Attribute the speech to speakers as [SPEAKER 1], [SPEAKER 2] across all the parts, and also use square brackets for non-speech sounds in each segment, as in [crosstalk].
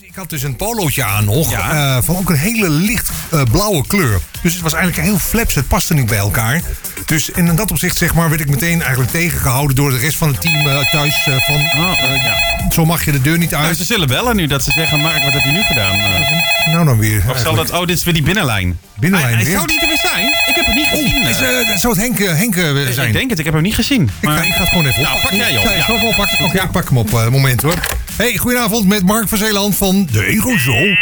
[SPEAKER 1] Ik had dus een polootje aan nog, eh, van ook een hele licht eh, blauwe kleur. Dus het was eigenlijk heel flaps, het paste niet bij elkaar. Dus en in dat opzicht zeg maar, werd ik meteen eigenlijk tegengehouden door de rest van het team eh, thuis. eh, van,
[SPEAKER 2] Oh,
[SPEAKER 1] eh, Zo mag je de deur niet
[SPEAKER 2] Nou,
[SPEAKER 1] uit.
[SPEAKER 2] ze zullen bellen nu dat ze zeggen, Mark, wat heb je nu gedaan? Eh,
[SPEAKER 1] Nou dan weer.
[SPEAKER 2] of zal dat, oh, dit is weer die binnenlijn.
[SPEAKER 1] Binnenlijn
[SPEAKER 2] Hij, hij
[SPEAKER 1] weer.
[SPEAKER 2] zou die er weer zijn? Ik heb hem niet gezien.
[SPEAKER 1] Is,
[SPEAKER 2] eh.
[SPEAKER 1] eh, zou het Henk, eh, Henk eh, zijn?
[SPEAKER 2] Ik denk het, ik heb hem niet gezien.
[SPEAKER 1] Ik ga,
[SPEAKER 2] Maar,
[SPEAKER 1] ik ga het gewoon even
[SPEAKER 2] Nou,
[SPEAKER 1] oppakken.
[SPEAKER 2] pak jij op,
[SPEAKER 1] Ja, ik
[SPEAKER 2] ja.
[SPEAKER 1] zal het wel pakken. Oké, ik pak hem op eh, moment hoor. Hey, goedenavond met Mark van Zeeland van de Ego Show.
[SPEAKER 3] Hey,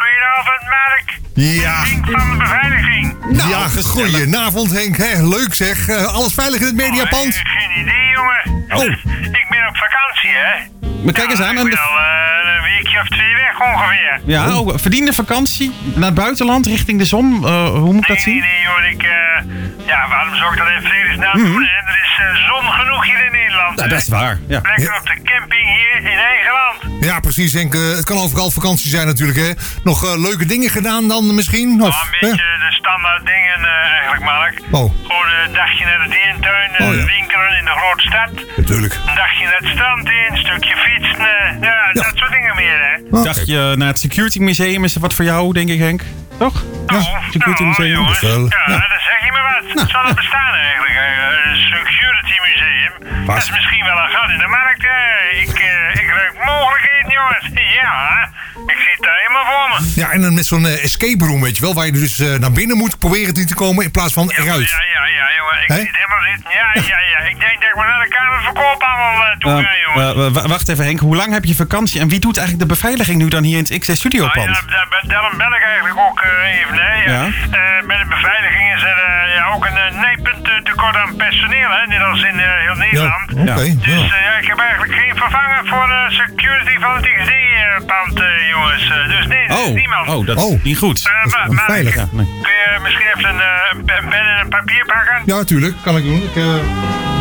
[SPEAKER 3] goedenavond, Mark.
[SPEAKER 1] Ja.
[SPEAKER 3] Henk van de beveiliging.
[SPEAKER 1] Nou,
[SPEAKER 2] Ja, gezellig.
[SPEAKER 1] goedenavond Henk. Hè, leuk zeg. Eh, alles veilig in het
[SPEAKER 2] Nou,
[SPEAKER 3] Eh,
[SPEAKER 1] mediapand?
[SPEAKER 3] geen idee, jongen.
[SPEAKER 1] Oh.
[SPEAKER 3] Ik ben op vakantie, hè?
[SPEAKER 2] maar kijk eens aan.
[SPEAKER 3] Ik
[SPEAKER 2] En
[SPEAKER 3] ben
[SPEAKER 2] de,
[SPEAKER 3] al eh, een weekje of twee weg ongeveer.
[SPEAKER 2] ja, oh, verdiende vakantie naar het buitenland, richting de zon. Eh, hoe moet ik dat
[SPEAKER 3] Nee, nee,
[SPEAKER 2] zien?
[SPEAKER 3] nee, joh. Ik, eh, ja, waarom zou ik dat in vredesnaam doen? hè? Er is eh, zon genoeg hier in Nederland.
[SPEAKER 2] Mhm. Ja, dat is waar. Ja.
[SPEAKER 3] Lekker op de camping hier in eigen land.
[SPEAKER 1] Ja, precies Henk. Eh, het kan overal vakantie zijn natuurlijk. Hè. Nog eh, leuke dingen gedaan dan misschien?
[SPEAKER 3] Maar
[SPEAKER 1] Of,
[SPEAKER 3] een beetje
[SPEAKER 1] hè?
[SPEAKER 3] de standaard dingen eh, eigenlijk, Mark.
[SPEAKER 1] Oh.
[SPEAKER 3] Gewoon eh, een dagje naar de dierentuin, eh,
[SPEAKER 1] Oh, ja.
[SPEAKER 3] winkelen in de grote stad.
[SPEAKER 1] Natuurlijk.
[SPEAKER 3] Een dagje naar het strand in, een stukje fietsen. eh, ja, dat soort dingen meer, hè.
[SPEAKER 1] Ah,
[SPEAKER 2] Dacht je, naar het Security Museum is er wat voor jou, denk ik, Henk? Toch?
[SPEAKER 3] Oh,
[SPEAKER 2] Security
[SPEAKER 3] nou,
[SPEAKER 2] Museum.
[SPEAKER 3] jongens,
[SPEAKER 1] Wel,
[SPEAKER 3] ja,
[SPEAKER 1] ja. Nou,
[SPEAKER 3] dan zeg je me wat. Zal het bestaan eigenlijk? eh, Een security museum. Dat is misschien wel een gat in de markt. eh. Ik, eh, ik ruik mogelijkheden, jongens. Ja, ik zit daar helemaal voor me.
[SPEAKER 1] Ja, en dan met zo'n eh, escape room, weet je wel. Waar je dus eh, naar binnen moet proberen te komen in plaats van eruit.
[SPEAKER 3] Ja, ja, ja, jongen. Ik
[SPEAKER 1] Hè?
[SPEAKER 3] zit helemaal zitten. Ja, ja, ja. Ik denk dat ik maar naar de kamerverkoop allemaal eh, toe
[SPEAKER 2] Eh,
[SPEAKER 3] ga, jongen.
[SPEAKER 2] eh, wa- wacht even, Henk. Hoe lang heb je vakantie en wie doet eigenlijk de beveiliging nu dan hier in het XC
[SPEAKER 3] Ah, ja,
[SPEAKER 2] Studiopand?
[SPEAKER 3] daar ben- daarom bel ik eigenlijk ook eh, even. Hè, ja.
[SPEAKER 2] Ja.
[SPEAKER 3] Eh, bij de beveiliging is er eh, ja, ook een eh, nijpend eh, tekort aan personeel, hè, net als in eh, heel
[SPEAKER 1] Ja,
[SPEAKER 3] Nederland.
[SPEAKER 1] oké.
[SPEAKER 3] Dus
[SPEAKER 1] ja.
[SPEAKER 3] eh, ja, ik heb eigenlijk geen vervanger voor eh, security van het XD-pand, jongens. Eh, dus nee, er is niemand.
[SPEAKER 2] Oh, oh, dat
[SPEAKER 1] Oh.
[SPEAKER 2] is niet goed.
[SPEAKER 3] Eh,
[SPEAKER 1] dat is
[SPEAKER 3] maar- maar
[SPEAKER 1] onveilig.
[SPEAKER 2] Ja, nee.
[SPEAKER 3] kun je misschien even een, eh, een pen pen en een papier pakken?
[SPEAKER 1] Ja, tuurlijk. Kan ik doen. Ik, eh,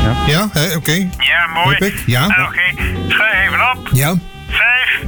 [SPEAKER 2] Ja.
[SPEAKER 1] Ja, hè, oké.
[SPEAKER 3] Ja, mooi.
[SPEAKER 1] Heb ik? Ja.
[SPEAKER 3] Ah, Oké, schrijf even op.
[SPEAKER 1] Ja.
[SPEAKER 3] 5,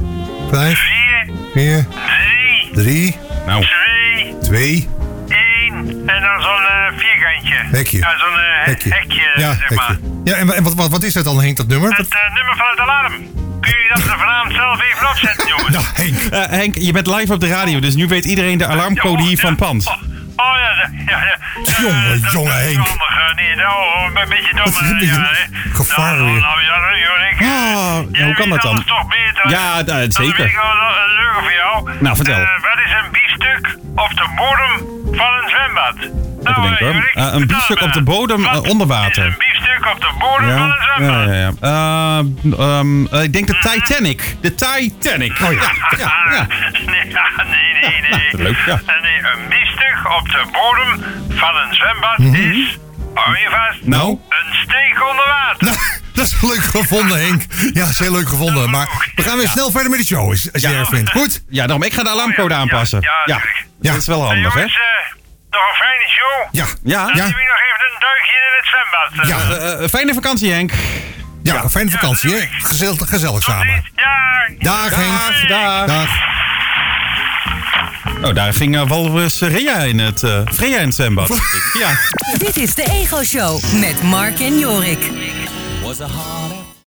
[SPEAKER 1] Vijf,
[SPEAKER 3] 4,
[SPEAKER 1] vier,
[SPEAKER 3] 3,
[SPEAKER 1] drie,
[SPEAKER 2] Nou,
[SPEAKER 3] 2,
[SPEAKER 1] twee.
[SPEAKER 3] 1 en dan zo'n eh, vierkantje.
[SPEAKER 1] Hekje.
[SPEAKER 3] Ja, zo'n eh,
[SPEAKER 1] Hekje.
[SPEAKER 3] hekje,
[SPEAKER 1] ja,
[SPEAKER 3] zeg
[SPEAKER 1] hekje.
[SPEAKER 3] maar.
[SPEAKER 1] Ja, en wa- en wat, wat, wat is dat dan, Henk, dat nummer?
[SPEAKER 3] Het eh, nummer van het alarm. Kun je dat er vanavond zelf even opzetten, jongens?
[SPEAKER 1] Nou, Henk.
[SPEAKER 2] eh, Henk, je bent live op de radio, dus nu weet iedereen de alarmcode
[SPEAKER 3] Oh,
[SPEAKER 2] hier
[SPEAKER 3] ja.
[SPEAKER 2] van pand.
[SPEAKER 3] Oh, oh, ja, ja, ja. ja.
[SPEAKER 1] Jongen,
[SPEAKER 3] Eh, dat-
[SPEAKER 1] jongen,
[SPEAKER 3] dat is
[SPEAKER 1] Henk.
[SPEAKER 3] handig, eh, Nee, nou, oh, een beetje dom.
[SPEAKER 1] Wat
[SPEAKER 3] eh,
[SPEAKER 1] heb je
[SPEAKER 3] ja,
[SPEAKER 1] een
[SPEAKER 3] hè.
[SPEAKER 1] gevaar
[SPEAKER 3] nou,
[SPEAKER 1] weer.
[SPEAKER 3] Nou, ja, nou, jongen, ik, eh,
[SPEAKER 2] Ah, ja,
[SPEAKER 3] jij
[SPEAKER 2] hoe kan
[SPEAKER 3] weet
[SPEAKER 2] dat dan?
[SPEAKER 3] alles toch beter.
[SPEAKER 2] Ja, da-
[SPEAKER 3] Dan
[SPEAKER 2] zeker.
[SPEAKER 3] weet ik wel een een leugen voor jou.
[SPEAKER 2] Nou, vertel.
[SPEAKER 3] Eh, wat is een biefstuk op de bodem van een zwembad? Nou,
[SPEAKER 2] Even denken,
[SPEAKER 3] eh,
[SPEAKER 2] hoor.
[SPEAKER 3] Jorik,
[SPEAKER 2] Eh, een
[SPEAKER 3] vertel
[SPEAKER 2] biefstuk
[SPEAKER 3] me.
[SPEAKER 2] op de bodem,
[SPEAKER 3] Wat
[SPEAKER 2] eh, onder water.
[SPEAKER 3] is een biefstuk op de bodem van een
[SPEAKER 2] Ja,
[SPEAKER 3] zwembad.
[SPEAKER 2] ja, ja. ja. Eh, ehm, eh, ik denk de Titanic. De Titanic. Oh ja, ja, ja.
[SPEAKER 3] Ah, [laughs] Nee, ja, nee, nee, nee.
[SPEAKER 2] Ja, [laughs] leuk, ja.
[SPEAKER 3] Eh, nee, een biefstuk op de bodem van een zwembad is... Hou je vast?
[SPEAKER 2] Mhm. Nou?
[SPEAKER 3] Een steek onder water.
[SPEAKER 1] Nou, [laughs] dat is leuk gevonden, Henk. Ja, dat is heel leuk gevonden. Maar we gaan weer snel verder met de show, als als je
[SPEAKER 2] Ja.
[SPEAKER 1] erg vindt. Goed?
[SPEAKER 2] Oh Ja, daarom, ik ga de alarmcode
[SPEAKER 3] Ja,
[SPEAKER 2] aanpassen.
[SPEAKER 3] ja, ja,
[SPEAKER 2] Ja,
[SPEAKER 3] natuurlijk.
[SPEAKER 2] dat is wel
[SPEAKER 3] Eh,
[SPEAKER 2] handig, hè?
[SPEAKER 3] jongens, eh, nog een fijne show.
[SPEAKER 1] Ja.
[SPEAKER 2] Ja.
[SPEAKER 3] Dan
[SPEAKER 1] Ja.
[SPEAKER 3] doen we nog even een duikje in het zwembad.
[SPEAKER 1] Ja.
[SPEAKER 2] Eh, eh, fijne vakantie, Henk.
[SPEAKER 1] Ja, fijne vakantie, hè? Gezellig, gezellig
[SPEAKER 3] Tot
[SPEAKER 1] samen.
[SPEAKER 3] ziens. Ja.
[SPEAKER 1] Dag, Henk.
[SPEAKER 2] Dag, dag.
[SPEAKER 1] Dag.
[SPEAKER 2] Nou, daar ging eh, Walrus Rea in het, eh Freya in het zwembad. denk ik. Ja.
[SPEAKER 4] Dit is de Ego Show met Mark en Jorik.
[SPEAKER 5] was a hard